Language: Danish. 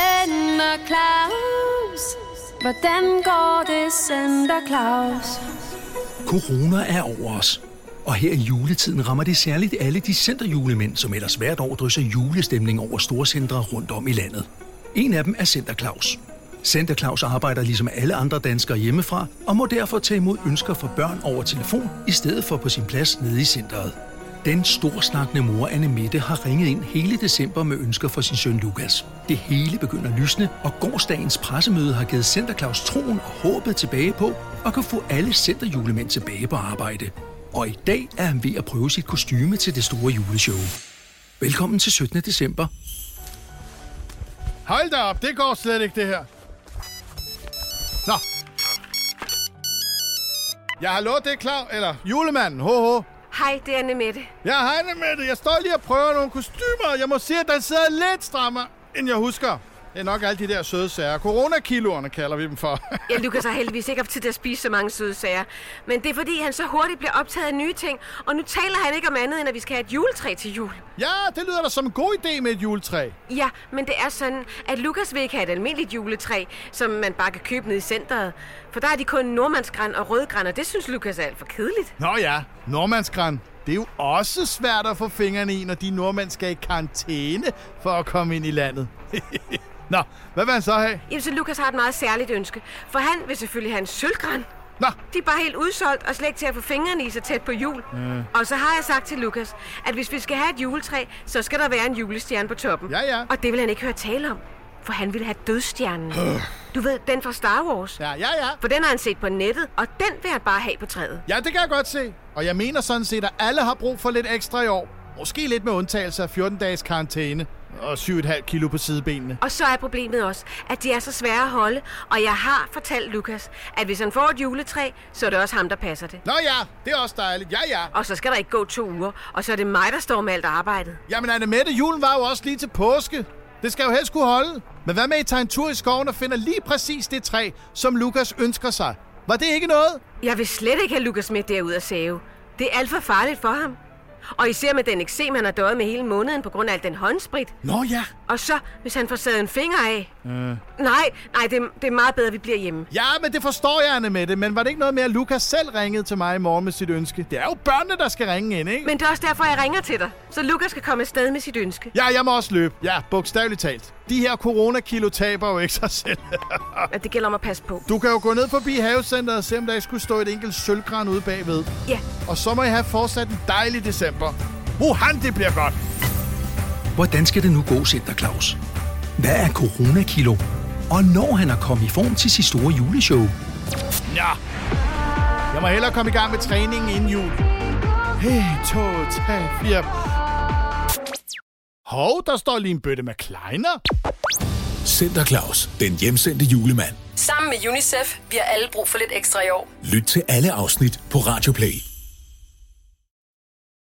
Santa Claus? Hvordan går det, Santa Claus? Corona er over os. Og her i juletiden rammer det særligt alle de centerjulemænd, som ellers hvert år drysser julestemning over storcentre rundt om i landet. En af dem er Center Claus. Center Claus arbejder ligesom alle andre danskere hjemmefra, og må derfor tage imod ønsker fra børn over telefon, i stedet for på sin plads nede i centret. Den storsnakkende mor Anne Mette har ringet ind hele december med ønsker for sin søn Lukas. Det hele begynder at lysne, og gårsdagens pressemøde har givet Center Claus troen og håbet tilbage på, og kan få alle centerjulemænd tilbage på arbejde. Og i dag er han ved at prøve sit kostyme til det store juleshow. Velkommen til 17. december. Hold da op, det går slet ikke, det her. Nå. Ja, hallo, det er klar, eller julemanden, ho, ho. Hej, det er Anne Mette. Ja, hej med det. Jeg står lige og prøver nogle kostymer. Jeg må sige, at den sidder lidt strammere, end jeg husker. Det er nok alle de der søde sager. Coronakiloerne kalder vi dem for. Ja, Lukas har heldigvis ikke haft tid til at spise så mange søde sager. Men det er fordi, han så hurtigt bliver optaget af nye ting, og nu taler han ikke om andet, end at vi skal have et juletræ til jul. ja, det lyder da som en god idé med et juletræ. Ja, men det er sådan, at Lukas vil ikke have et almindeligt juletræ, som man bare kan købe nede i centret. For der er de kun nordmandsgræn og rødgræn, og det synes Lukas er alt for kedeligt. Nå ja, nordmandsgræn. Det er jo også svært at få fingrene i, når de nordmænd skal i karantæne for at komme ind i landet. Nå, hvad vil han så have? Jamen, så Lukas har et meget særligt ønske, for han vil selvfølgelig have en sølvgræn. Nå, De er bare helt udsolgt og slet ikke til at få fingrene i så tæt på jul. Mm. Og så har jeg sagt til Lukas, at hvis vi skal have et juletræ, så skal der være en julestjerne på toppen. Ja, ja. Og det vil han ikke høre tale om, for han vil have dødstjernen. du ved, den fra Star Wars. ja, ja, ja. For den har han set på nettet, og den vil han bare have på træet. Ja, det kan jeg godt se. Og jeg mener sådan set, at alle har brug for lidt ekstra i år. Måske lidt med undtagelse af 14-dages karantæne og 7,5 kilo på sidebenene. Og så er problemet også, at de er så svære at holde, og jeg har fortalt Lukas, at hvis han får et juletræ, så er det også ham, der passer det. Nå ja, det er også dejligt. Ja, ja. Og så skal der ikke gå to uger, og så er det mig, der står med alt arbejdet. Jamen, Anne Mette, julen var jo også lige til påske. Det skal jo helst kunne holde. Men hvad med, at I tager en tur i skoven og finder lige præcis det træ, som Lukas ønsker sig? Var det ikke noget? Jeg vil slet ikke have Lukas med derud og save. Det er alt for farligt for ham. Og især med den eksem, han har døjet med hele måneden på grund af al den håndsprit. Nå ja. Og så, hvis han får sadet en finger af. Mm. Nej, nej, det, er- det er meget bedre, at vi bliver hjemme. Ja, men det forstår jeg, Anne Mette. Men var det ikke noget med, at Lukas selv ringede til mig i morgen med sit ønske? Det er jo børnene, der skal ringe ind, ikke? Men det er også derfor, jeg ringer til dig, så Lukas kan komme afsted med sit ønske. Ja, jeg må også løbe. Ja, bogstaveligt talt. De her coronakilo taber jo ikke sig selv. Og det gælder om at passe på. Du kan jo gå ned forbi havecenteret og se, om der ikke skulle stå et enkelt sølvgran ude bagved. Ja, Og så må I have fortsat en dejlig december. Wuhan, det bliver godt. Hvordan skal det nu gå, Center Claus? Hvad er coronakilo? Og når han er kommet i form til sit store juleshow? Ja. Jeg må hellere komme i gang med træningen inden jul. 1, 2, 3, 4. Hov, der står lige en bøtte med kleiner. Center Claus, den hjemsendte julemand. Sammen med UNICEF bliver alle brug for lidt ekstra i år. Lyt til alle afsnit på Radio Play.